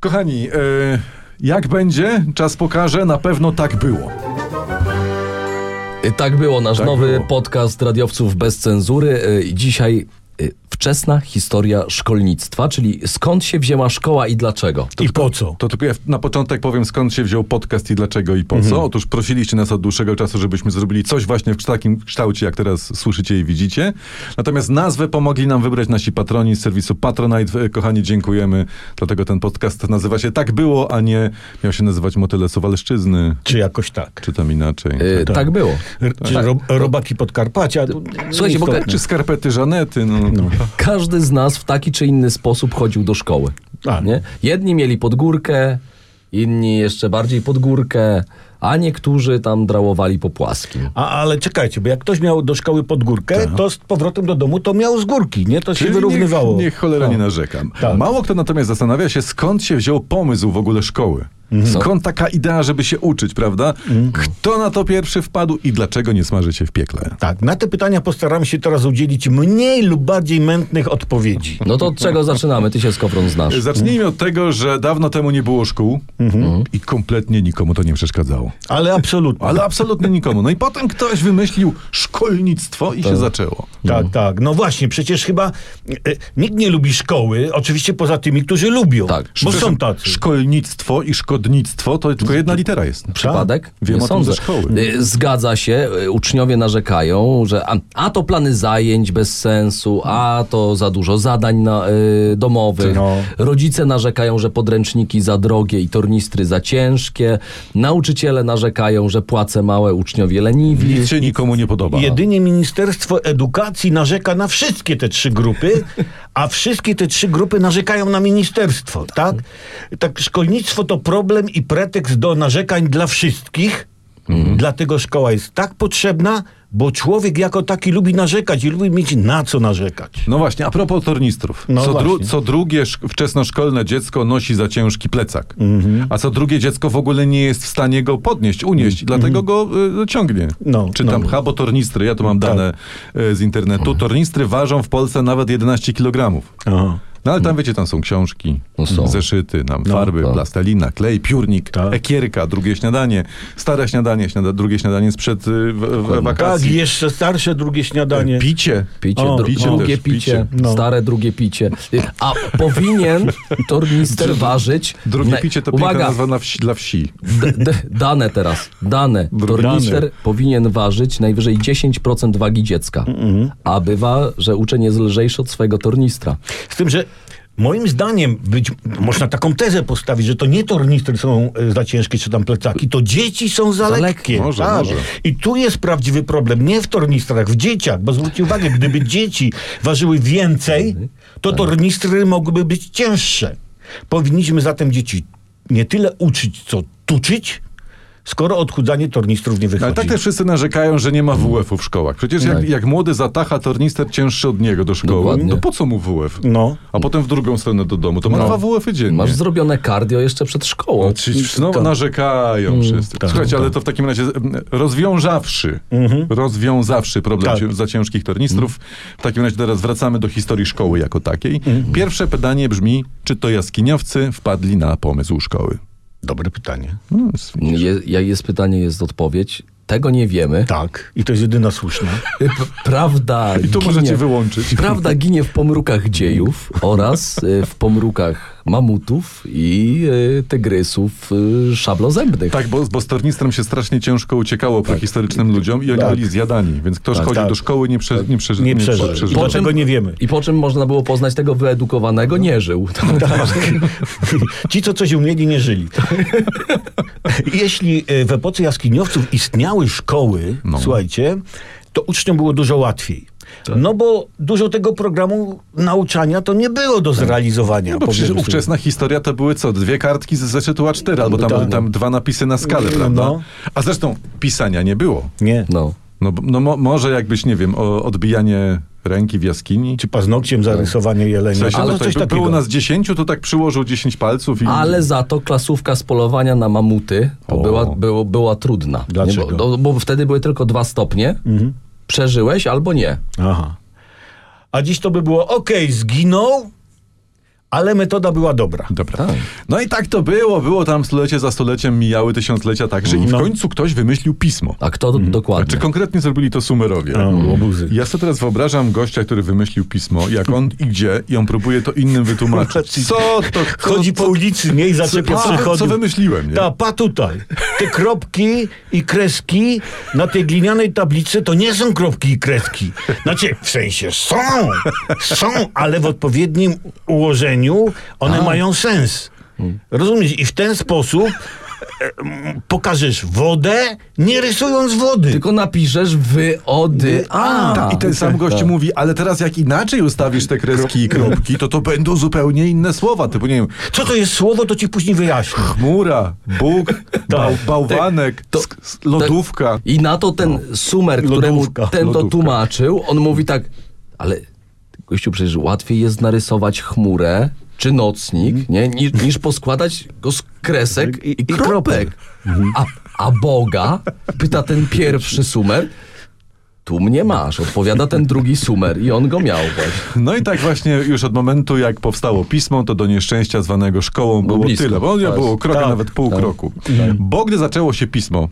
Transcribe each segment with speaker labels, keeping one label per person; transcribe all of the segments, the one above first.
Speaker 1: Kochani, e, jak będzie, czas pokaże, na pewno tak było.
Speaker 2: Y, Tak było, nasz
Speaker 1: Tak
Speaker 2: nowy
Speaker 1: było.
Speaker 2: podcast radiowców bez cenzury. Y, Dzisiaj y, wczesna historia szkolnictwa, czyli skąd się wzięła szkoła i dlaczego. Y,
Speaker 3: I po co?
Speaker 1: To tylko ja na początek powiem, skąd się wziął podcast i dlaczego i po co. Otóż prosiliście nas od dłuższego czasu, żebyśmy zrobili coś właśnie w takim kształcie, jak teraz słyszycie i widzicie. Natomiast nazwę pomogli nam wybrać nasi patroni z serwisu Patronite. E, Kochani, dziękujemy. Dlatego ten podcast nazywa się Tak Było, a nie miał się nazywać Motyle Suwalszczyzny,
Speaker 3: Czy jakoś tak?
Speaker 1: czy tam inaczej.
Speaker 2: Y,
Speaker 3: tak.
Speaker 2: Tak było.
Speaker 3: R- Czy ro, robaki Podkarpacia? To-
Speaker 2: Słuchajcie, bo
Speaker 3: nieistotne.
Speaker 1: Czy skarpety Żanety, no.
Speaker 2: każdy z nas w taki czy inny sposób chodził do szkoły.
Speaker 3: Tak.
Speaker 2: Nie? Jedni mieli pod górkę, inni jeszcze bardziej pod górkę, a niektórzy tam drałowali po płaskim.
Speaker 3: A, ale czekajcie, bo jak ktoś miał do szkoły pod górkę, to z powrotem do domu to miał z górki, nie? To
Speaker 1: Tak.
Speaker 3: się
Speaker 1: Czyli
Speaker 3: wyrównywało.
Speaker 1: Niech, niech cholera
Speaker 3: Tak.
Speaker 1: nie narzekam.
Speaker 3: Tak.
Speaker 1: Mało kto natomiast zastanawia się, skąd się wziął pomysł w ogóle szkoły.
Speaker 3: Mhm. No.
Speaker 1: Skąd taka idea, żeby się uczyć, prawda? Kto na to pierwszy wpadł i dlaczego nie smaży się w piekle?
Speaker 3: Tak, na te pytania postaram się teraz udzielić mniej lub bardziej mętnych odpowiedzi.
Speaker 2: No to od czego zaczynamy? Ty się skowron znasz.
Speaker 3: Mhm.
Speaker 1: Zacznijmy od tego, że dawno temu nie było szkół Mhm. i kompletnie nikomu to nie przeszkadzało.
Speaker 3: Ale absolutnie.
Speaker 1: Ale absolutnie nikomu. No i potem ktoś wymyślił szkolnictwo i się zaczęło.
Speaker 3: Tak, tak. No właśnie, przecież chyba e, nikt nie lubi szkoły, oczywiście poza tymi, którzy lubią.
Speaker 2: Tak.
Speaker 3: Bo
Speaker 1: Przepraszam,
Speaker 3: są tacy.
Speaker 1: Szkolnictwo i szkodnictwo to tylko jedna litera jest.
Speaker 2: przypadek?
Speaker 1: Tak? Wiem
Speaker 2: nie
Speaker 1: o tym
Speaker 2: sądzę.
Speaker 1: ze szkoły.
Speaker 2: Y, Zgadza się, y, uczniowie narzekają, że a, a to plany zajęć bez sensu, a to za dużo zadań na, y, domowych.
Speaker 3: No.
Speaker 2: Rodzice narzekają, że podręczniki za drogie i tornistry za ciężkie. Nauczyciele narzekają, że płace małe, uczniowie leniwi.
Speaker 1: Nic się nikomu nie podoba.
Speaker 3: Jedynie Ministerstwo Edukacji narzeka na wszystkie te trzy grupy, a wszystkie te trzy grupy narzekają na ministerstwo, tak? Tak, szkolnictwo to problem i pretekst do narzekań dla wszystkich, dlatego szkoła jest tak potrzebna, bo człowiek jako taki lubi narzekać i lubi mieć na co narzekać.
Speaker 1: No właśnie, a propos tornistrów.
Speaker 3: No
Speaker 1: co, dru-
Speaker 3: właśnie.
Speaker 1: co drugie szk- wczesnoszkolne dziecko nosi za ciężki plecak,
Speaker 2: Mhm.
Speaker 1: a co drugie dziecko w ogóle nie jest w stanie go podnieść, unieść, i
Speaker 2: Mhm.
Speaker 1: dlatego go y, ciągnie.
Speaker 3: No,
Speaker 1: Czy
Speaker 3: no.
Speaker 1: tam habo tornistry, ja tu mam
Speaker 2: Tak.
Speaker 1: dane y, z
Speaker 2: Mhm.
Speaker 1: internetu. Tornistry ważą w Polsce nawet 11 kg.
Speaker 3: Aha.
Speaker 1: No ale tam wiecie, tam są książki,
Speaker 2: Mhm. No są.
Speaker 1: zeszyty, tam farby,
Speaker 2: tak.
Speaker 1: plastelina, klej, piórnik,
Speaker 3: Tak.
Speaker 1: ekierka, drugie śniadanie, stare śniadanie, śniada- drugie śniadanie sprzed y, w- w-
Speaker 3: Tak,
Speaker 1: wakacji,
Speaker 3: jeszcze starsze drugie śniadanie.
Speaker 1: picie.
Speaker 2: Picie,
Speaker 3: O,
Speaker 2: dru-
Speaker 1: picie
Speaker 2: drugie
Speaker 1: też,
Speaker 2: picie,
Speaker 1: picie.
Speaker 3: No.
Speaker 2: stare drugie picie. Y, A powinien tornister ważyć.
Speaker 1: Drugie
Speaker 2: na-
Speaker 1: picie to piękna
Speaker 2: Uwaga,
Speaker 1: nazwa na wsi, dla wsi.
Speaker 2: D- d- dane teraz, dane. Tornister powinien ważyć najwyżej 10% wagi dziecka.
Speaker 1: Mhm.
Speaker 2: A bywa, że uczeń jest lżejszy od swojego tornistra.
Speaker 3: Z tym, że moim zdaniem być, można taką tezę postawić, że to nie tornistry są e, za ciężkie czy tam plecaki, to dzieci są za,
Speaker 2: Za lekkie.
Speaker 3: lekkie.
Speaker 1: Może,
Speaker 3: tak.
Speaker 1: może.
Speaker 3: I tu jest prawdziwy problem, nie w tornistrach, w dzieciach, bo zwróćcie uwagę, gdyby dzieci ważyły więcej,
Speaker 1: Tak.
Speaker 3: to tornistry mogłyby być cięższe. Powinniśmy zatem dzieci nie tyle uczyć, co tuczyć, skoro odchudzanie tornistrów nie wychodzi.
Speaker 1: Ale tak też wszyscy narzekają, że nie ma WF-u w szkołach. Przecież jak,
Speaker 2: Tak.
Speaker 1: jak młody zatacha tornister cięższy od niego do szkoły,
Speaker 2: Dokładnie. No.
Speaker 1: no po co mu WF?
Speaker 3: No.
Speaker 1: A potem w drugą stronę do domu. To ma dwa WF-y dziennie.
Speaker 2: Masz zrobione cardio jeszcze przed szkołą.
Speaker 1: no, narzekają
Speaker 2: Mm.
Speaker 1: wszyscy.
Speaker 3: Tak.
Speaker 1: Słuchajcie, ale to w takim razie mm, rozwiążawszy, rozwiązawszy problem
Speaker 3: Mhm. Tak.
Speaker 1: cię- za ciężkich tornistrów,
Speaker 2: Mm.
Speaker 1: w takim razie teraz wracamy do historii szkoły jako takiej.
Speaker 3: Mhm.
Speaker 1: Pierwsze pytanie brzmi, czy to jaskiniowcy wpadli na pomysł szkoły?
Speaker 3: Dobre pytanie.
Speaker 1: No, jest-
Speaker 2: Je, jak jest pytanie, jest odpowiedź. Tego nie wiemy.
Speaker 3: Tak, i to jest jedyna słuszna.
Speaker 2: P- Prawda
Speaker 1: I tu
Speaker 2: ginie,
Speaker 1: możecie wyłączyć.
Speaker 2: Prawda ginie w pomrukach dziejów oraz y, w pomrukach mamutów i y, tygrysów y, szablozębnych.
Speaker 1: Tak, bo, bo z tornistrem się strasznie ciężko uciekało prehistorycznym ludziom i oni
Speaker 3: Tak.
Speaker 1: byli zjadani, więc kto szkodził
Speaker 3: tak.
Speaker 1: do szkoły nie, prze, nie, przeży,
Speaker 3: Nie przeżył. I
Speaker 1: przeżywał.
Speaker 2: Po czym-
Speaker 3: dlaczego nie wiemy?
Speaker 2: I po czym można było poznać tego wyedukowanego? Nie żył.
Speaker 3: Tak. Ci, co coś umieli, nie żyli. Jeśli e, w epoce jaskiniowców istniały szkoły,
Speaker 1: No.
Speaker 3: słuchajcie, to uczniom było dużo łatwiej.
Speaker 1: Tak.
Speaker 3: No bo dużo tego programu nauczania to nie było do zrealizowania.
Speaker 1: Tak. No Bo przecież
Speaker 3: powiedzmy sobie.
Speaker 1: ówczesna historia to były co? Dwie kartki z zeszytu A4, albo tam,
Speaker 3: Tak.
Speaker 1: tam dwa napisy na skalę, prawda?
Speaker 3: No.
Speaker 1: A zresztą pisania nie było.
Speaker 3: Nie.
Speaker 2: No.
Speaker 1: No, b- no mo, może jakbyś, nie wiem, o, odbijanie ręki w jaskini.
Speaker 3: Czy paznokciem zarysowanie jelenia.
Speaker 1: No. W sensie,
Speaker 3: ale
Speaker 1: no to
Speaker 3: coś
Speaker 1: by,
Speaker 3: takiego.
Speaker 1: było nas dziesięciu, to tak przyłożył dziesięć palców i...
Speaker 2: Ale za to klasówka z polowania na mamuty to
Speaker 1: O.
Speaker 2: była, było, była trudna.
Speaker 3: Dlaczego?
Speaker 2: Nie, bo, bo wtedy były tylko dwa stopnie. Przeżyłeś albo nie.
Speaker 3: Aha. A dziś to by było, okej, zginął, ale metoda była dobra.
Speaker 1: Dobra. No i tak to było, było tam stulecie za stuleciem, mijały tysiąclecia także i w
Speaker 3: No. Tak.
Speaker 1: końcu ktoś wymyślił pismo.
Speaker 2: A kto dokładnie?
Speaker 1: Czy konkretnie zrobili to Sumerowie?
Speaker 3: No. Łobuzy.
Speaker 1: Ja sobie teraz wyobrażam gościa, który wymyślił pismo, jak on i gdzie, i on próbuje to innym wytłumaczyć. Co to? Co,
Speaker 3: Chodzi po ulicy, nie? I zaczepia
Speaker 1: co, co, co
Speaker 3: przychodów.
Speaker 1: wymyśliłem, nie?
Speaker 3: Ta, pa tutaj. Te kropki i kreski na tej glinianej tablicy to nie są kropki i kreski. Znaczy, w sensie są, są, ale w odpowiednim ułożeniu one mają sens.
Speaker 1: Hmm.
Speaker 3: Rozumiesz? I w ten sposób e, m, pokażesz wodę, nie rysując wody.
Speaker 2: Tylko napiszesz wy, ody, a.
Speaker 1: Ta, tak, I ten
Speaker 3: Tak.
Speaker 1: sam gość mówi, ale teraz jak inaczej ustawisz te kreski i kropki, to to będą zupełnie inne słowa, typu nie wiem,
Speaker 3: Co to jest słowo, to ci później wyjaśnię.
Speaker 1: chmura, Bóg,
Speaker 3: Tak.
Speaker 1: bał, bałwanek,
Speaker 2: to-
Speaker 1: sk- s- lodówka.
Speaker 2: Tak. I na to ten sumer, któremu
Speaker 3: Lodówka,
Speaker 2: ten to
Speaker 1: No lodówka.
Speaker 2: tłumaczył, on mówi tak, ale gościu, przecież łatwiej jest narysować chmurę czy nocnik, nie, niż, niż poskładać go z kresek i, kropek. A, a Boga, pyta ten pierwszy sumer, tu mnie masz, odpowiada ten drugi sumer i on go miał właśnie.
Speaker 1: No i tak właśnie już od momentu, jak powstało pismo, to do nieszczęścia zwanego szkołą było
Speaker 2: blisko,
Speaker 1: tyle, bo nie
Speaker 2: tak.
Speaker 1: było kroka,
Speaker 3: Tak,
Speaker 1: nawet pół kroku. Bo gdy zaczęło się pismo,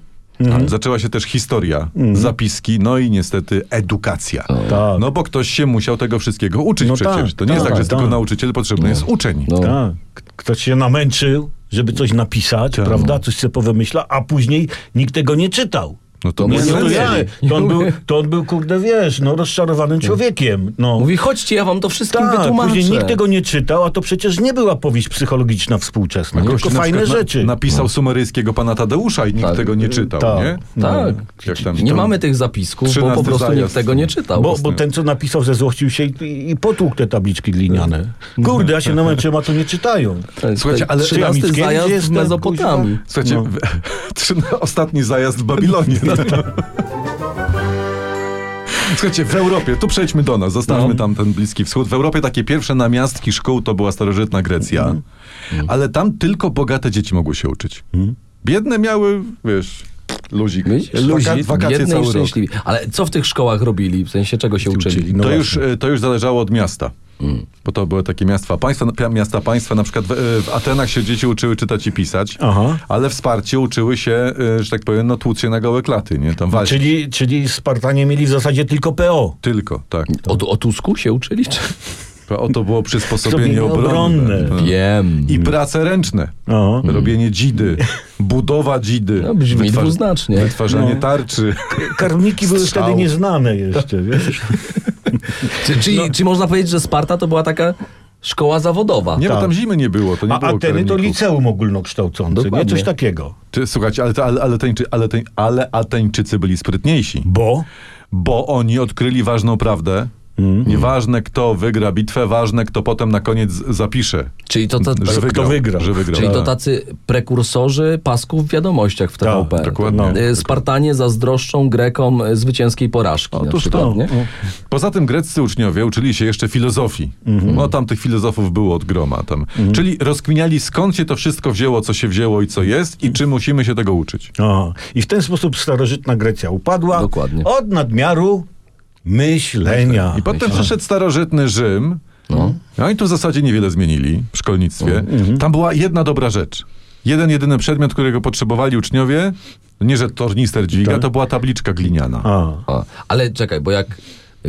Speaker 1: zaczęła się też historia, zapiski, no i niestety edukacja.
Speaker 3: Tak.
Speaker 1: No bo ktoś się musiał tego wszystkiego uczyć
Speaker 3: No
Speaker 1: przecież.
Speaker 3: tak,
Speaker 1: to nie jest
Speaker 3: tak,
Speaker 1: tak, że jest
Speaker 3: tak.
Speaker 1: tylko nauczyciel, potrzebny jest uczeń.
Speaker 2: No.
Speaker 3: Tak. K- Ktoś się namęczył, żeby coś napisać,
Speaker 1: Tak.
Speaker 3: prawda? Coś sobie powymyśla, a później nikt tego nie czytał.
Speaker 1: No Tak. to
Speaker 2: Nie
Speaker 1: bez
Speaker 3: Nie
Speaker 1: sensu.
Speaker 3: rozumiemy.
Speaker 2: Nie
Speaker 3: To on, był,
Speaker 2: umie.
Speaker 3: to on był, kurde, wiesz, no rozczarowanym człowiekiem. No.
Speaker 2: Mówi, chodźcie, ja wam to wszystkim
Speaker 3: Tak,
Speaker 2: wytłumaczę.
Speaker 3: później nikt tego nie czytał, a to przecież nie była powieść psychologiczna współczesna,
Speaker 1: Gość
Speaker 3: tylko
Speaker 1: No, na
Speaker 3: fajne
Speaker 1: przykład na-
Speaker 3: rzeczy.
Speaker 1: Napisał sumeryjskiego pana Tadeusza i nikt
Speaker 2: Tak.
Speaker 1: tego nie czytał,
Speaker 3: Tak.
Speaker 1: nie?
Speaker 2: Tak.
Speaker 1: No, Jak tam-
Speaker 2: Nie
Speaker 1: to-
Speaker 2: mamy tych zapisków, bo po
Speaker 1: trzynasty
Speaker 2: prostu nikt
Speaker 1: zajazd.
Speaker 2: tego nie czytał.
Speaker 3: bo, bo ten, co napisał, zezłościł się i, i- i potłukł te tabliczki gliniane.
Speaker 1: No.
Speaker 3: Kurde, ja się namęczyłem, a to nie czytają.
Speaker 1: Słuchajcie, ale-
Speaker 3: Ja
Speaker 2: tak trzynasty
Speaker 3: Mickiewicz
Speaker 2: zajazd w
Speaker 3: jestem,
Speaker 2: Mezopotamii.
Speaker 3: kuźwa.
Speaker 1: Słuchajcie,
Speaker 3: No.
Speaker 1: w- trzy- ostatni zajazd w Babilonie. no. Słuchajcie, w Europie, tu przejdźmy do nas, zostawmy tam ten Bliski Wschód. W Europie takie pierwsze namiastki szkół to była starożytna Grecja, ale tam tylko bogate dzieci mogły się uczyć. Biedne miały, wiesz, luzik.
Speaker 2: Widzisz?
Speaker 1: Waka- wakacje
Speaker 2: Biedny i
Speaker 1: cały rok.
Speaker 2: szczęśliwi. Ale co w tych szkołach robili? W sensie czego się uczyli?
Speaker 3: No
Speaker 1: to,
Speaker 3: właśnie. Mm.
Speaker 1: już, e, to już zależało od miasta. Bo to były takie miasta państwa, pia- miasta państwa, na przykład w, e, w Atenach się dzieci uczyły czytać i pisać,
Speaker 3: Aha.
Speaker 1: ale wsparcie uczyły się, e, że tak powiem, no tłuc się na gołe klaty, nie? Tam walczyć.
Speaker 3: Czyli, czyli Spartanie mieli w zasadzie tylko PO.
Speaker 1: Tylko, tak.
Speaker 2: O, o Tusku się uczyli? Czy?
Speaker 1: Oto było przysposobienie
Speaker 3: Zrobienie
Speaker 1: obronne.
Speaker 3: obronne. Mm.
Speaker 2: Wiem.
Speaker 1: I prace ręczne.
Speaker 3: Aha.
Speaker 1: Robienie dzidy, budowa dzidy.
Speaker 2: No, brzmi
Speaker 1: wytwar-
Speaker 2: dwuznacznie.
Speaker 1: Wytwarzanie
Speaker 3: No.
Speaker 1: tarczy.
Speaker 3: Karniki były
Speaker 1: Strzał. Tak.
Speaker 3: wtedy nieznane jeszcze, wiesz?
Speaker 2: Czy, czy,
Speaker 1: No.
Speaker 2: czy można powiedzieć, że Sparta to była taka szkoła zawodowa?
Speaker 1: Nie, bo
Speaker 3: Tak.
Speaker 1: tam zimy nie było, to nie
Speaker 3: A
Speaker 1: było
Speaker 3: Ateny to
Speaker 1: karników.
Speaker 3: liceum ogólnokształcące, nie?
Speaker 2: Dokładnie.
Speaker 3: Coś takiego.
Speaker 1: Czy, słuchajcie, ale, te- ale, ale, Ateńczy, ale, te- ale Ateńczycy byli sprytniejsi.
Speaker 3: Bo?
Speaker 1: bo oni odkryli ważną prawdę. Nieważne, kto wygra bitwę, ważne, kto potem na koniec z- zapisze,
Speaker 2: Czyli to, ta,
Speaker 1: że wygrał.
Speaker 3: wygra.
Speaker 1: Że wygrał.
Speaker 2: czyli to
Speaker 1: Tak.
Speaker 2: tacy prekursorzy pasków w wiadomościach w TVP.
Speaker 1: Tak, dokładnie.
Speaker 2: Y, Spartanie zazdroszczą Grekom y, zwycięskiej porażki. na
Speaker 1: Otóż
Speaker 2: przykład,
Speaker 1: No, to.
Speaker 2: nie?
Speaker 1: Poza tym greccy uczniowie uczyli się jeszcze filozofii. No tam tych filozofów było od groma tam. Czyli rozkminiali skąd się to wszystko wzięło, co się wzięło i co jest i czy musimy się tego uczyć.
Speaker 3: Aha. I w ten sposób starożytna Grecja upadła
Speaker 2: Dokładnie.
Speaker 3: od nadmiaru myślenia.
Speaker 1: I potem przyszedł starożytny Rzym. No. i tu w zasadzie niewiele zmienili w szkolnictwie.
Speaker 3: No. Mhm.
Speaker 1: Tam była jedna dobra rzecz. Jeden, jedyny przedmiot, którego potrzebowali uczniowie, nie że tornister dźwiga, to była tabliczka gliniana.
Speaker 3: Tak. A.
Speaker 2: A, ale czekaj, bo jak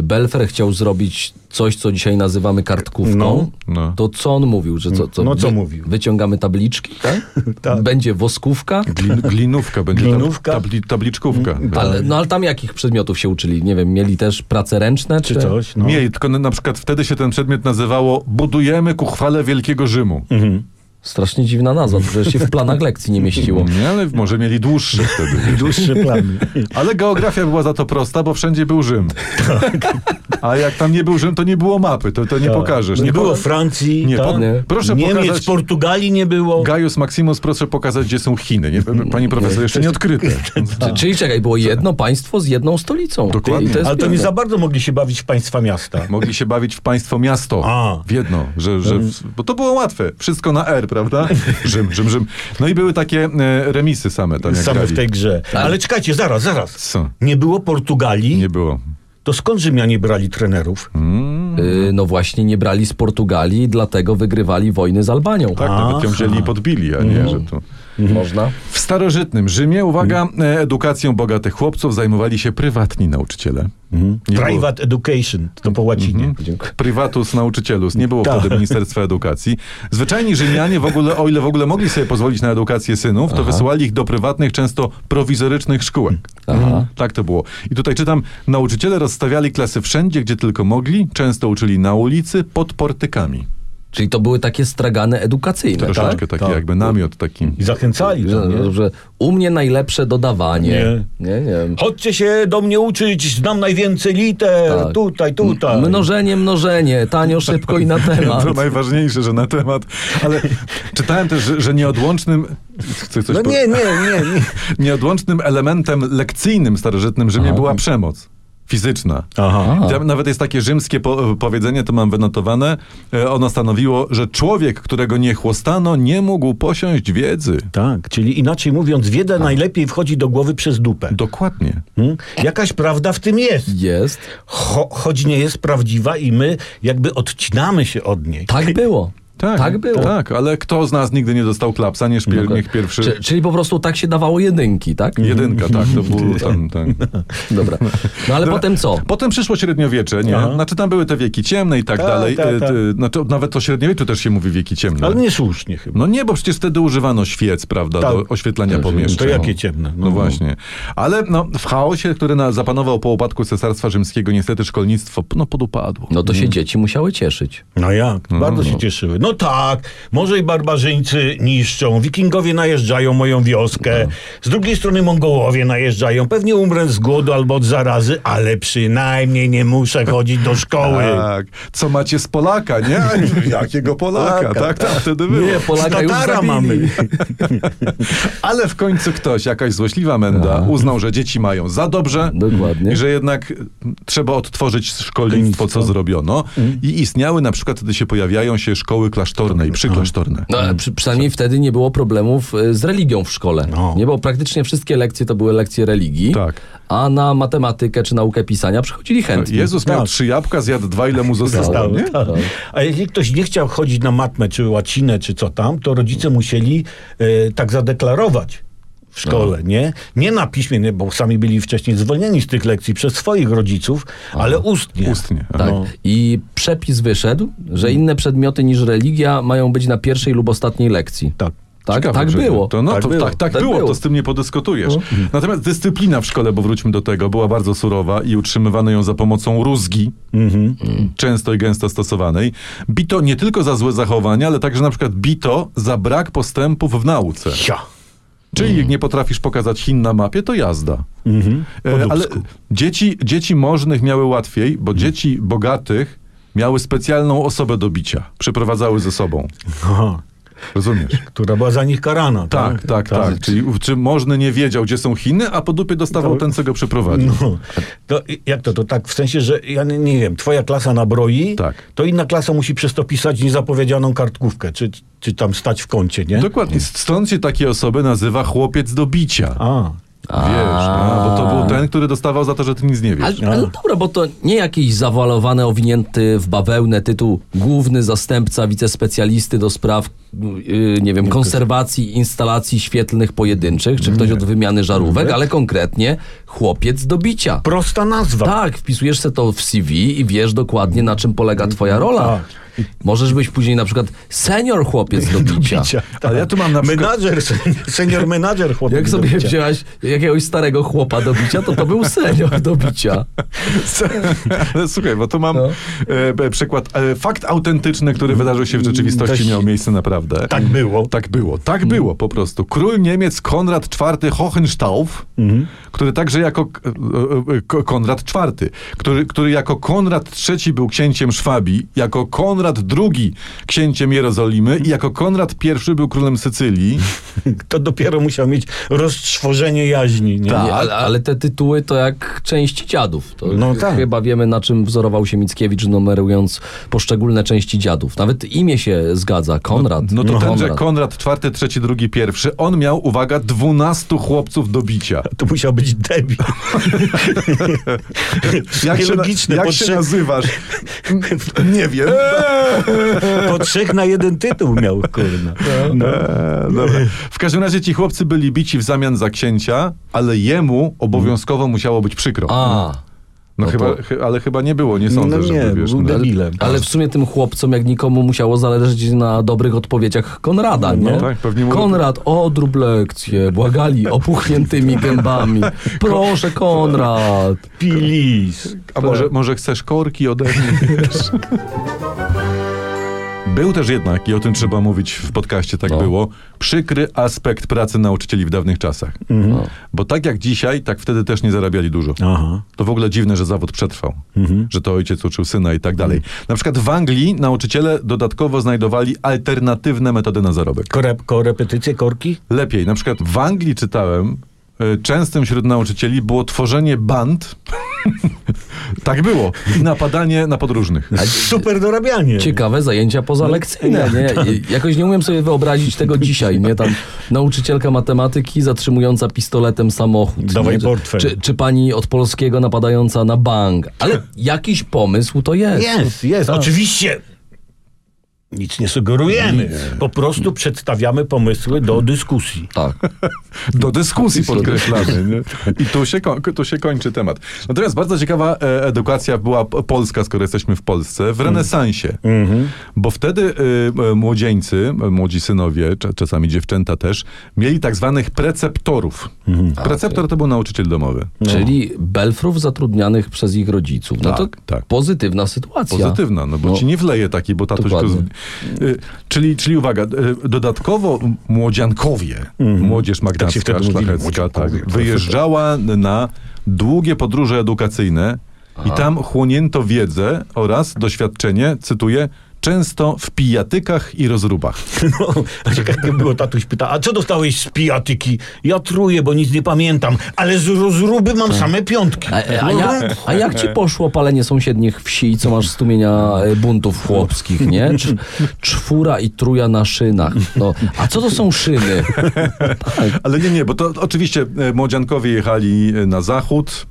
Speaker 2: Belfer chciał zrobić coś, co dzisiaj nazywamy kartkówką,
Speaker 3: No,
Speaker 1: no.
Speaker 2: to co on mówił? Że co, co,
Speaker 3: No, co mówił?
Speaker 2: Wyciągamy tabliczki, tak?
Speaker 3: Tak.
Speaker 2: będzie woskówka,
Speaker 1: Glin, glinówka będzie.
Speaker 3: Glinówka? Mm,
Speaker 1: Tab, tabli, tabliczkówka.
Speaker 3: Tak.
Speaker 2: ale, no ale tam jakich przedmiotów się uczyli? Nie wiem, mieli też prace ręczne? Czy,
Speaker 3: Czy coś? No.
Speaker 1: Tak. Mieli, tylko na- na przykład wtedy się ten przedmiot nazywało Budujemy ku chwale Wielkiego Rzymu.
Speaker 3: Mhm.
Speaker 2: Strasznie dziwna nazwa, to przecież się w planach lekcji nie mieściło.
Speaker 1: Nie, ale może mieli dłuższy wtedy.
Speaker 3: Dłuższy plan.
Speaker 1: Ale geografia była za to prosta, bo wszędzie był Rzym.
Speaker 3: Tak.
Speaker 1: A jak tam nie był Rzym, to nie było mapy, to, to nie pokażesz.
Speaker 3: Nie było
Speaker 1: poka-
Speaker 3: Francji,
Speaker 1: Nie,
Speaker 3: tak?
Speaker 1: po,
Speaker 2: Nie.
Speaker 1: proszę
Speaker 3: Niemiec,
Speaker 1: pokazać...
Speaker 3: Portugalii nie było.
Speaker 1: Gaius Maximus, proszę pokazać, gdzie są Chiny. Nie,
Speaker 3: Mm,
Speaker 1: panie profesor, jeszcze nie odkryte.
Speaker 3: No.
Speaker 2: Czy, czyli czekaj, było jedno państwo z jedną stolicą.
Speaker 1: Dokładnie.
Speaker 2: I to jest
Speaker 3: Ale to nie
Speaker 2: piękne.
Speaker 3: za bardzo mogli się bawić w państwa miasta.
Speaker 1: Mogli się bawić w państwo miasto.
Speaker 3: A. Mm.
Speaker 1: W jedno, że, że w, bo to było łatwe. Wszystko na R, prawda? Rzym, Rzym, Rzym. No i były takie e, remisy same tam. Jak
Speaker 3: Same
Speaker 1: grali.
Speaker 3: w tej grze.
Speaker 2: Tak.
Speaker 3: Ale czekajcie, zaraz, zaraz.
Speaker 1: Co?
Speaker 3: Nie było Portugalii,
Speaker 1: Nie było.
Speaker 3: to to skąd Rzymianie brali trenerów?
Speaker 2: Y, no właśnie nie brali z Portugalii, dlatego wygrywali wojny z Albanią.
Speaker 1: Tak, nawet ją
Speaker 3: Aha. Mhm.
Speaker 1: wzięli i podbili, a nie, że to...
Speaker 2: Można?
Speaker 1: W starożytnym Rzymie, uwaga,
Speaker 3: Mhm.
Speaker 1: e, edukacją bogatych chłopców zajmowali się prywatni nauczyciele.
Speaker 3: Mhm.
Speaker 1: Nie było-
Speaker 3: Private education, to po łacinie.
Speaker 2: Dziękuję.
Speaker 1: Privatus nauczycielus. Nie było
Speaker 3: Tak.
Speaker 1: wtedy Ministerstwa Edukacji. Zwyczajni Rzymianie, w ogóle, o ile w ogóle mogli sobie pozwolić na edukację synów, to wysyłali ich do prywatnych, często prowizorycznych szkółek. Mhm. Tak to było. I tutaj czytam, nauczyciele rozstawiali klasy wszędzie, gdzie tylko mogli, często uczyli na ulicy, pod portykami.
Speaker 2: Czyli to były takie stragany edukacyjne, tak?
Speaker 1: Troszeczkę taki
Speaker 3: tak.
Speaker 1: jakby namiot taki.
Speaker 3: I zachęcali.
Speaker 2: Że,
Speaker 3: Tam, nie?
Speaker 2: że u mnie najlepsze dodawanie. Nie, nie. nie.
Speaker 3: Chodźcie się do mnie uczyć, znam najwięcej liter,
Speaker 2: Tak.
Speaker 3: tutaj, tutaj.
Speaker 2: Mnożenie, mnożenie, tanio, szybko i na temat.
Speaker 1: To najważniejsze, że na temat. Ale czytałem też, że, że nieodłącznym. Chcę coś
Speaker 3: No
Speaker 1: po-
Speaker 3: nie, nie, nie, nie.
Speaker 1: Nieodłącznym elementem lekcyjnym w starożytnym Rzymie
Speaker 2: Aha.
Speaker 1: była przemoc fizyczna.
Speaker 3: Aha.
Speaker 1: I Tam nawet jest takie rzymskie po, powiedzenie, to mam wynotowane. E, ono stanowiło, że człowiek, którego nie chłostano, nie mógł posiąść wiedzy.
Speaker 3: Tak, czyli inaczej mówiąc, wiedza najlepiej wchodzi do głowy przez dupę.
Speaker 1: Dokładnie.
Speaker 3: Hmm? Jakaś prawda w tym jest,
Speaker 2: Jest.
Speaker 3: Cho, choć nie jest prawdziwa i my jakby odcinamy się od niej.
Speaker 2: Tak było.
Speaker 1: Tak,
Speaker 2: było.
Speaker 1: Tak, ale kto z nas nigdy nie dostał klapsa, nie szpiel, niech pierwszy.
Speaker 2: Czy, czyli po prostu tak się dawało jedynki, tak?
Speaker 1: Jedynka, tak, to był tam, ten.
Speaker 2: Dobra. No ale potem co?
Speaker 1: Potem przyszło średniowiecze, nie?
Speaker 3: Aha.
Speaker 1: Znaczy tam były te wieki ciemne i tak
Speaker 3: Tak,
Speaker 1: dalej.
Speaker 3: tak,
Speaker 1: E,
Speaker 3: tak.
Speaker 1: e, Znaczy, nawet o średniowieczu też się mówi wieki ciemne.
Speaker 3: Ale niesłusznie chyba.
Speaker 1: No nie, bo przecież wtedy używano świec, prawda,
Speaker 3: Tak.
Speaker 1: do oświetlania
Speaker 2: To
Speaker 1: pomieszczeń.
Speaker 3: To jakie ciemne.
Speaker 1: No właśnie. Ale no, w chaosie, który na, zapanował po upadku Cesarstwa Rzymskiego, niestety szkolnictwo no, podupadło.
Speaker 2: No to się dzieci musiały cieszyć.
Speaker 3: No jak? Bardzo się cieszyły. No tak, może i barbarzyńcy niszczą, wikingowie najeżdżają moją wioskę, z drugiej strony Mongołowie najeżdżają, pewnie umrę z głodu albo od zarazy, ale przynajmniej nie muszę chodzić do szkoły.
Speaker 1: Tak. Co macie z Polaka, nie? Jakiego Polaka? Tak, tak, wtedy było.
Speaker 2: Nie, Polaka już
Speaker 3: Tatara
Speaker 2: zabili.
Speaker 3: mamy.
Speaker 1: Ale w końcu ktoś, jakaś złośliwa menda, uznał, że dzieci mają za dobrze.
Speaker 2: Dokładnie.
Speaker 1: I że jednak trzeba odtworzyć szkolnictwo, co zrobiono. I istniały na przykład, wtedy się pojawiają się szkoły klasztorne i przyklasztorne.
Speaker 2: No, ale przy, przynajmniej wtedy nie było problemów y, z religią w szkole.
Speaker 3: No.
Speaker 2: Nie, bo praktycznie wszystkie lekcje to były lekcje religii,
Speaker 1: Tak.
Speaker 2: a na matematykę czy naukę pisania przychodzili chętni.
Speaker 1: Jezus miał
Speaker 3: Tak.
Speaker 1: trzy jabłka, zjadł dwa, ile mu zostało,
Speaker 3: Stało,
Speaker 1: nie?
Speaker 3: tak. A jeśli ktoś nie chciał chodzić na matmę, czy łacinę, czy co tam, to rodzice musieli e, tak zadeklarować w szkole, nie? Nie na piśmie, nie, bo sami byli wcześniej zwolnieni z tych lekcji przez swoich rodziców, ale ustnie.
Speaker 1: Ustnie.
Speaker 2: Tak.
Speaker 3: No.
Speaker 2: I przepis wyszedł, że inne przedmioty niż religia mają być na pierwszej lub ostatniej lekcji.
Speaker 3: Tak.
Speaker 2: Tak,
Speaker 1: Ciekawe,
Speaker 2: tak
Speaker 1: że-
Speaker 2: było. Mhm.
Speaker 1: To, no,
Speaker 2: tak
Speaker 1: to,
Speaker 2: było.
Speaker 1: Tak, tak, było, to z tym nie podyskutujesz. Natomiast dyscyplina w szkole, bo wróćmy do tego, była bardzo surowa i utrzymywano ją za pomocą rózgi, Mhm. często i gęsto stosowanej. Bito nie tylko za złe zachowania, ale także na przykład bito za brak postępów w nauce.
Speaker 3: Ja.
Speaker 2: Mhm.
Speaker 1: Czyli jak nie potrafisz pokazać Chin na mapie, to jazda. E, ale dzieci, dzieci możnych miały łatwiej,
Speaker 2: Mhm.
Speaker 1: bo dzieci bogatych miały specjalną osobę do bicia. Przyprowadzały ze sobą.
Speaker 3: Aha.
Speaker 1: Rozumiesz?
Speaker 3: Która była za nich karana.
Speaker 1: Tak, tak, tak. Czyli czy możny nie wiedział, gdzie są Chiny, a po dupie dostawał ten, co go przyprowadził.
Speaker 3: No, to i- jak to, to tak w sensie, że ja nie, nie wiem, twoja klasa nabroi,
Speaker 1: Tak.
Speaker 3: to inna klasa musi przez to pisać niezapowiedzianą kartkówkę, czy, czy tam stać w kącie, nie?
Speaker 1: Dokładnie. Stąd się takie osoby nazywa chłopiec do bicia.
Speaker 3: A,
Speaker 1: Wiesz, a, bo to był ten, który dostawał za to, że ty nic nie wiesz.
Speaker 2: Ale, ale dobra, bo to nie jakiś zawalowany, owinięty w bawełnę tytuł główny zastępca wicespecjalisty do spraw, yy, nie wiem, konserwacji instalacji świetlnych pojedynczych, czy ktoś od wymiany żarówek, ale konkretnie chłopiec do bicia.
Speaker 3: prosta nazwa.
Speaker 2: Tak, wpisujesz sobie to w CV i wiesz dokładnie, na czym polega twoja rola. Możesz być później na przykład senior chłopiec do bicia.
Speaker 3: Bicia.
Speaker 1: Ale ja tu mam na przykład-
Speaker 3: Menadżer, senior, Tak. senior menadżer chłopak.
Speaker 2: Jak
Speaker 3: do
Speaker 2: sobie
Speaker 3: bicia.
Speaker 2: wzięłaś jakiegoś starego chłopa do bicia, to to był senior do bicia.
Speaker 1: Ale słuchaj, bo tu mam
Speaker 2: No.
Speaker 1: e, b- przykład. E, fakt autentyczny, który wydarzył się w rzeczywistości,
Speaker 3: Dość-
Speaker 1: miał miejsce naprawdę.
Speaker 3: Tak było.
Speaker 1: Tak było, tak było po prostu. Król Niemiec Konrad IV Hohenstauf, który także jako k- e, e, Konrad IV, który, który jako Konrad III był księciem Szwabii, jako Konrad Konrad II księciem Jerozolimy i jako Konrad I był królem Sycylii.
Speaker 3: To dopiero musiał mieć roztrwożenie jaźni. Nie?
Speaker 2: Nie,
Speaker 1: Tak.
Speaker 2: ale, ale te tytuły to jak część dziadów. To
Speaker 3: No
Speaker 2: ch-
Speaker 3: tak.
Speaker 2: Chyba wiemy, na czym wzorował się Mickiewicz, numerując poszczególne części dziadów. Nawet imię się zgadza. Konrad.
Speaker 1: No to tenże
Speaker 2: Konrad.
Speaker 1: Konrad IV, III, II, pierwszy, on miał, uwaga, 12 chłopców do bicia.
Speaker 3: To musiał być debil.
Speaker 1: Jak się, na-
Speaker 3: Nielogiczne,
Speaker 1: jak
Speaker 3: po,
Speaker 1: się
Speaker 3: trzech,
Speaker 1: nazywasz? Eee! Nie wiem.
Speaker 3: po trzech na jeden tytuł miał, kurna. No.
Speaker 1: Eee, dobra. W każdym razie ci chłopcy byli bici w zamian za księcia, ale jemu obowiązkowo musiało być przykro.
Speaker 2: A,
Speaker 1: no
Speaker 2: no
Speaker 1: chyba,
Speaker 2: to-
Speaker 1: chy- ale chyba nie było, nie sądzę,
Speaker 3: No nie,
Speaker 1: żeby wiesz,
Speaker 3: był
Speaker 1: no.
Speaker 3: debilem.
Speaker 2: ale w sumie tym chłopcom, jak nikomu, musiało zależeć na dobrych odpowiedziach Konrada, nie?
Speaker 1: tak, pewnie mu-
Speaker 2: Konrad, odrób lekcję. Błagali opuchniętymi gębami. Proszę, Konrad.
Speaker 3: Pilis.
Speaker 1: A może, może chcesz korki ode mnie? wiesz? Był też jednak, i o tym trzeba mówić w podcaście, tak
Speaker 2: No.
Speaker 1: było, przykry aspekt pracy nauczycieli w dawnych czasach.
Speaker 2: No.
Speaker 1: Bo tak jak dzisiaj, tak wtedy też nie zarabiali dużo.
Speaker 3: Aha.
Speaker 1: To w ogóle dziwne, że zawód przetrwał, że to ojciec uczył syna i tak dalej. Na przykład w Anglii nauczyciele dodatkowo znajdowali alternatywne metody na zarobek.
Speaker 3: Korep, korepetycje, korki?
Speaker 1: Lepiej, na przykład w Anglii czytałem, y, częstym wśród nauczycieli było tworzenie band. tak było. I napadanie na podróżnych.
Speaker 3: Super dorabianie.
Speaker 2: Ciekawe zajęcia pozalekcyjne, nie? I Jakoś nie umiem sobie wyobrazić tego dzisiaj, nie? Tam nauczycielka matematyki zatrzymująca pistoletem samochód.
Speaker 3: Dawaj
Speaker 2: nie? Czy-
Speaker 3: portfel.
Speaker 2: Czy, czy pani od polskiego napadająca na bank. Ale jakiś pomysł to jest.
Speaker 3: Jest, jest. Oczywiście. Nic nie sugerujemy. Po prostu przedstawiamy pomysły do dyskusji.
Speaker 2: Tak.
Speaker 1: Do dyskusji podkreślamy. Nie? I tu się, koń- tu się kończy temat. Natomiast bardzo ciekawa e, edukacja była p- polska, skoro jesteśmy w Polsce, w renesansie. Bo wtedy y, e, młodzieńcy, e, młodzi synowie, cza- czasami dziewczęta też, mieli tak zwanych preceptorów. Preceptor to był nauczyciel domowy.
Speaker 2: Czyli belfrów zatrudnianych przez ich rodziców. No to
Speaker 1: Tak, tak.
Speaker 2: pozytywna sytuacja.
Speaker 1: Pozytywna, no bo ci nie wleje taki, bo tatuś... To,
Speaker 2: Dokładnie.
Speaker 1: z- y, czyli, czyli uwaga, y, dodatkowo młodziankowie, młodzież magdalska,
Speaker 3: Mhm. Tak wtedy mówili,
Speaker 1: szlachecka, tak,
Speaker 3: młodziankowie, to
Speaker 1: wyjeżdżała na długie podróże edukacyjne i tam chłonięto wiedzę oraz doświadczenie, cytuję, często w pijatykach i rozrubach.
Speaker 3: No, a ciekawe było, tatuś pyta, a co dostałeś z pijatyki? Ja truję, bo nic nie pamiętam, ale z rozruby mam same piątki.
Speaker 2: Tak. A, a, ja, a jak ci poszło palenie sąsiednich wsi i co masz stumienia e, buntów chłopskich, nie? Cz, czwóra i truja na szynach. No, a co to są szyny?
Speaker 1: Ale nie, nie, bo to oczywiście e, młodziankowie jechali e, na zachód,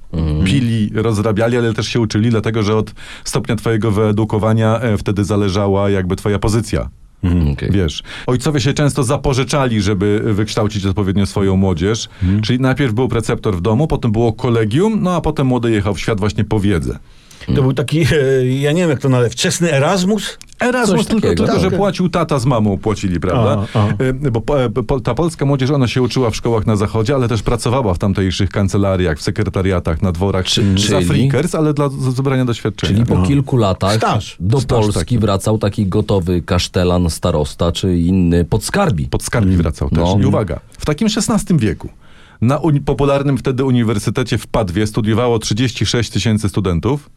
Speaker 1: pili, rozrabiali, ale też się uczyli, dlatego że od stopnia twojego wyedukowania e, wtedy zależała jakby twoja pozycja.
Speaker 2: Hmm, Okej.
Speaker 1: Wiesz, ojcowie się często zapożyczali, żeby wykształcić odpowiednio swoją młodzież. Czyli najpierw był preceptor w domu, potem było kolegium, no a potem młody jechał w świat właśnie po wiedzę.
Speaker 2: Mm.
Speaker 3: To był taki, e, ja nie wiem jak to nazwać, wczesny Erasmus?
Speaker 1: Erasmus
Speaker 2: Coś
Speaker 1: tylko,
Speaker 2: takiego.
Speaker 1: tylko że
Speaker 3: Tak.
Speaker 1: płacił tata z mamą, płacili, prawda?
Speaker 3: A, a.
Speaker 1: Y, Bo po, po, ta polska młodzież, ona się uczyła w szkołach na zachodzie, ale też pracowała w tamtejszych kancelariach, w sekretariatach, na dworach,
Speaker 2: Czy-
Speaker 1: za
Speaker 2: czyli?
Speaker 1: freakers, ale dla z- zebrania doświadczenia.
Speaker 2: Czyli po kilku latach
Speaker 3: Staż.
Speaker 2: do
Speaker 1: no. Staż
Speaker 2: Polski
Speaker 1: taki.
Speaker 2: wracał taki gotowy kasztelan, starosta czy inny podskarbi.
Speaker 1: Pod skargi wracał też.
Speaker 2: No.
Speaker 1: I uwaga, w takim XVI wieku na uni- popularnym wtedy uniwersytecie w Padwie studiowało 36 tysięcy studentów,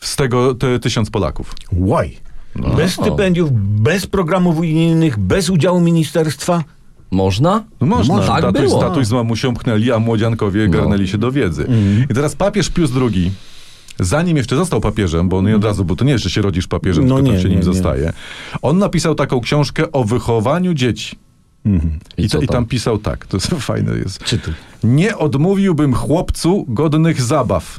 Speaker 1: z tego te, tysiąc Polaków.
Speaker 3: Łaj.
Speaker 2: No.
Speaker 3: Bez stypendiów, bez programów unijnych, bez udziału ministerstwa.
Speaker 2: Można?
Speaker 1: No można.
Speaker 2: Tak
Speaker 1: tatuś,
Speaker 2: było.
Speaker 1: tatuś z mamusią pchnęli, a młodziankowie garnęli się do wiedzy. I teraz papież Pius II, zanim jeszcze został papieżem, bo on nie od razu, bo to nie, jeszcze się rodzisz papieżem,
Speaker 3: No
Speaker 1: tylko tam
Speaker 3: nie,
Speaker 1: się
Speaker 3: nie,
Speaker 1: nim
Speaker 3: nie.
Speaker 1: zostaje. On napisał taką książkę o wychowaniu dzieci. I,
Speaker 2: I co
Speaker 1: to, I tam
Speaker 2: tam?
Speaker 1: pisał tak, to jest fajne jest.
Speaker 3: Czytuj.
Speaker 1: Nie odmówiłbym chłopcu godnych zabaw.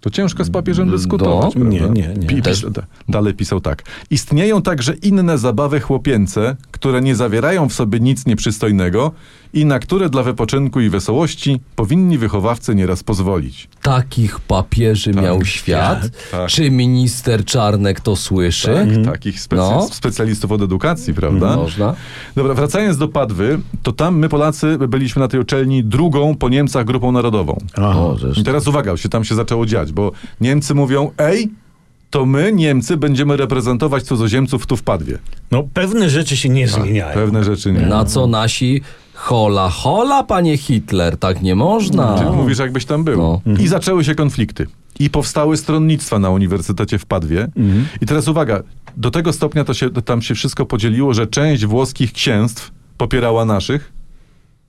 Speaker 1: To ciężko z papieżem dyskutować.
Speaker 2: No,
Speaker 1: prawda?
Speaker 3: nie, nie, nie.
Speaker 1: Pi-
Speaker 2: Też-
Speaker 1: da- Dalej pisał tak. Istnieją także inne zabawy chłopięce, które nie zawierają w sobie nic nieprzystojnego i na które dla wypoczynku i wesołości powinni wychowawcy nieraz pozwolić.
Speaker 2: Takich papieży miał świat.
Speaker 1: tak.
Speaker 2: Czy minister Czarnek to słyszy?
Speaker 1: Tak, takich specy-
Speaker 2: No. Mhm,
Speaker 1: specjalistów od edukacji, prawda?
Speaker 2: Można.
Speaker 1: Dobra, wracając do Padwy, to tam my Polacy byliśmy na tej uczelni drugą po Niemcach grupą narodową.
Speaker 2: O, żeż.
Speaker 1: I teraz uwaga, się tam się zaczęło dziać, bo Niemcy mówią, ej, to my, Niemcy, będziemy reprezentować cudzoziemców tu w Padwie.
Speaker 3: No pewne rzeczy się nie zmieniają.
Speaker 1: Tak, Pewne rzeczy nie.
Speaker 2: Na co nasi hola, hola, panie Hitler, tak nie można.
Speaker 1: Ty mówisz, jakbyś tam był.
Speaker 2: No.
Speaker 1: I zaczęły się konflikty. i powstały stronnictwa na Uniwersytecie w Padwie. I teraz uwaga, do tego stopnia to się, tam się wszystko podzieliło, że część włoskich księstw popierała naszych,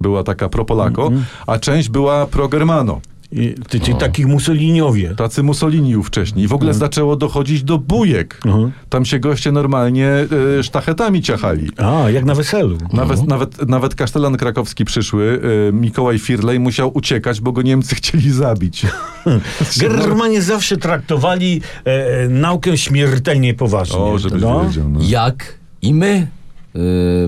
Speaker 1: była taka pro-Polako, a część była pro-Germano.
Speaker 3: I, ty,
Speaker 1: No.
Speaker 3: ty, takich Mussoliniowie.
Speaker 1: Tacy Mussoliniów wcześniej. I w ogóle zaczęło dochodzić do bujek.
Speaker 3: Mhm.
Speaker 1: Tam się goście normalnie y, sztachetami ciachali.
Speaker 3: A, jak na weselu.
Speaker 1: Nawet, nawet, nawet kasztelan krakowski przyszły, y, Mikołaj Firlej musiał uciekać, bo go Niemcy chcieli zabić.
Speaker 3: Germanie zawsze traktowali e, e, naukę śmiertelnie poważnie.
Speaker 1: O, żebyś
Speaker 3: no.
Speaker 1: wiedział. No.
Speaker 2: Jak i my y,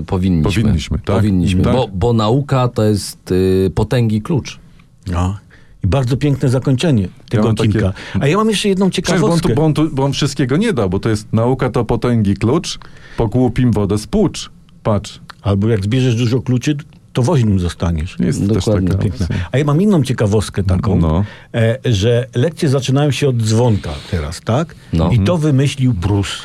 Speaker 2: powinniśmy.
Speaker 1: Powinniśmy, tak.
Speaker 2: Powinniśmy,
Speaker 1: Tak.
Speaker 2: Bo, bo nauka to jest y, potęgi klucz.
Speaker 3: No. I bardzo piękne zakończenie tego
Speaker 1: mam takie-
Speaker 3: odcinka. A ja mam jeszcze jedną
Speaker 1: Przecież bo on,
Speaker 3: ciekawostkę.
Speaker 1: tu, bo, on tu, bo on wszystkiego nie da, bo to jest nauka to potęgi klucz, pokłupim wodę z płucz. Patrz,
Speaker 3: Albo jak zbierzesz dużo kluczy, to woźnym zostaniesz.
Speaker 1: jest
Speaker 2: Dokładnie.
Speaker 1: też taka
Speaker 3: Piękne.
Speaker 1: opcja.
Speaker 3: A ja mam inną ciekawostkę taką,
Speaker 1: No.
Speaker 3: e, że lekcje zaczynają się od dzwonka teraz, tak?
Speaker 2: No.
Speaker 3: I to wymyślił Prus.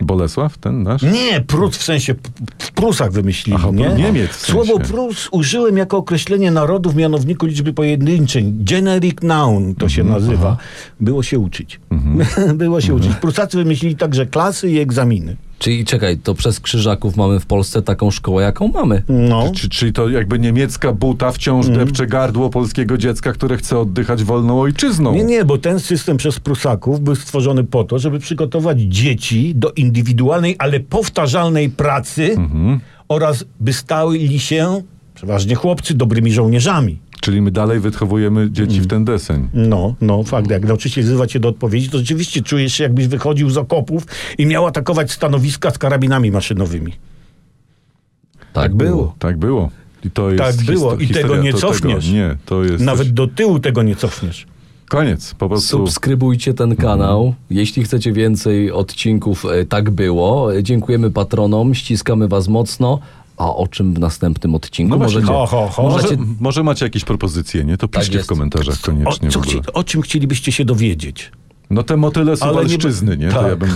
Speaker 1: Bolesław, ten nasz?
Speaker 3: Nie, Prus w sensie, p- w Prusach wymyślili,
Speaker 1: Aha,
Speaker 3: nie?
Speaker 1: Niemiec w sensie.
Speaker 3: Słowo Prus użyłem jako określenie narodu w mianowniku liczby pojedynczej. Generic noun to się
Speaker 1: Mhm,
Speaker 3: nazywa. Było się uczyć. Było się uczyć. Prusacy wymyślili także klasy i egzaminy.
Speaker 2: Czyli czekaj, to przez krzyżaków mamy w Polsce taką szkołę, jaką mamy.
Speaker 3: No.
Speaker 1: Czy, czyli to jakby niemiecka buta wciąż
Speaker 3: Mhm.
Speaker 1: depcze gardło polskiego dziecka, które chce oddychać wolną ojczyzną.
Speaker 3: Nie, nie, bo ten system przez Prusaków był stworzony po to, żeby przygotować dzieci do indywidualnej, ale powtarzalnej pracy
Speaker 1: Mhm.
Speaker 3: oraz by stały się, przeważnie chłopcy, dobrymi żołnierzami.
Speaker 1: Czyli my dalej wychowujemy dzieci
Speaker 3: Mhm.
Speaker 1: w ten deseń.
Speaker 3: No, no, fakt. Jak nauczyciel wzywa cię do odpowiedzi, to rzeczywiście czujesz się, jakbyś wychodził z okopów i miał atakować stanowiska z karabinami maszynowymi.
Speaker 2: Tak
Speaker 3: było.
Speaker 1: Tak było. I to jest
Speaker 3: Tak było. I
Speaker 1: historia,
Speaker 3: tego nie
Speaker 1: to,
Speaker 3: cofniesz.
Speaker 1: Tego, nie, to jest
Speaker 3: Nawet
Speaker 1: coś-
Speaker 3: do tyłu tego nie cofniesz.
Speaker 1: koniec. Po prostu Mhm.
Speaker 2: Subskrybujcie ten kanał. Jeśli chcecie więcej odcinków e, Tak było. E, Dziękujemy patronom, ściskamy was mocno. A o czym w następnym odcinku?
Speaker 1: No właśnie,
Speaker 2: możecie,
Speaker 3: ho, ho, ho.
Speaker 1: może,
Speaker 3: Znaczy,
Speaker 2: możecie
Speaker 1: może macie jakieś propozycje, nie? To piszcie
Speaker 2: Tak jest.
Speaker 1: w komentarzach
Speaker 3: O,
Speaker 1: koniecznie
Speaker 3: co
Speaker 1: w ogóle.
Speaker 3: chci, o czym chcielibyście się dowiedzieć?
Speaker 1: No te motyle
Speaker 3: Ale nie-
Speaker 1: suwalszczyzny, nie? To
Speaker 3: Tak.
Speaker 1: ja bym...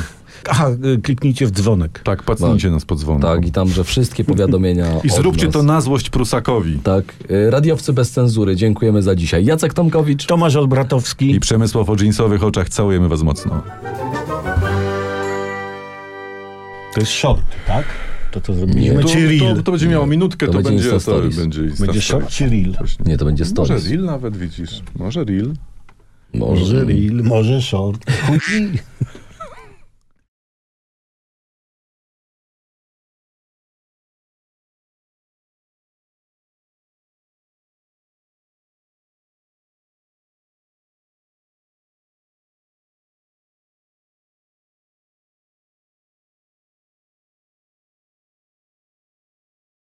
Speaker 3: Aha, y, kliknijcie w dzwonek.
Speaker 1: Tak, pacnijcie nas pod dzwonką.
Speaker 2: Tak, i tam, że wszystkie powiadomienia.
Speaker 1: I
Speaker 2: od
Speaker 1: zróbcie
Speaker 2: nas.
Speaker 1: to na złość Prusakowi.
Speaker 2: Tak. Y, Radiowcy bez cenzury, dziękujemy za dzisiaj. Jacek Tomkowicz.
Speaker 3: Tomasz Olbratowski.
Speaker 1: I Przemysław o dżinsowych oczach całujemy was mocno.
Speaker 3: To jest short, tak? To co zrobiliśmy?
Speaker 2: Nie,
Speaker 1: To,
Speaker 3: Czy reel?
Speaker 1: to, to będzie miało minutkę,
Speaker 2: To
Speaker 1: to,
Speaker 2: będzie
Speaker 1: będzie...
Speaker 2: Insta
Speaker 1: to
Speaker 2: Stories.
Speaker 1: będzie, Insta
Speaker 3: Będzie
Speaker 1: Stories.
Speaker 3: short czy reel?
Speaker 1: Właśnie.
Speaker 2: Nie, to będzie
Speaker 1: Może
Speaker 2: stories.
Speaker 1: reel nawet widzisz. Może reel.
Speaker 2: Może.
Speaker 3: Może reel, może short. Chuj.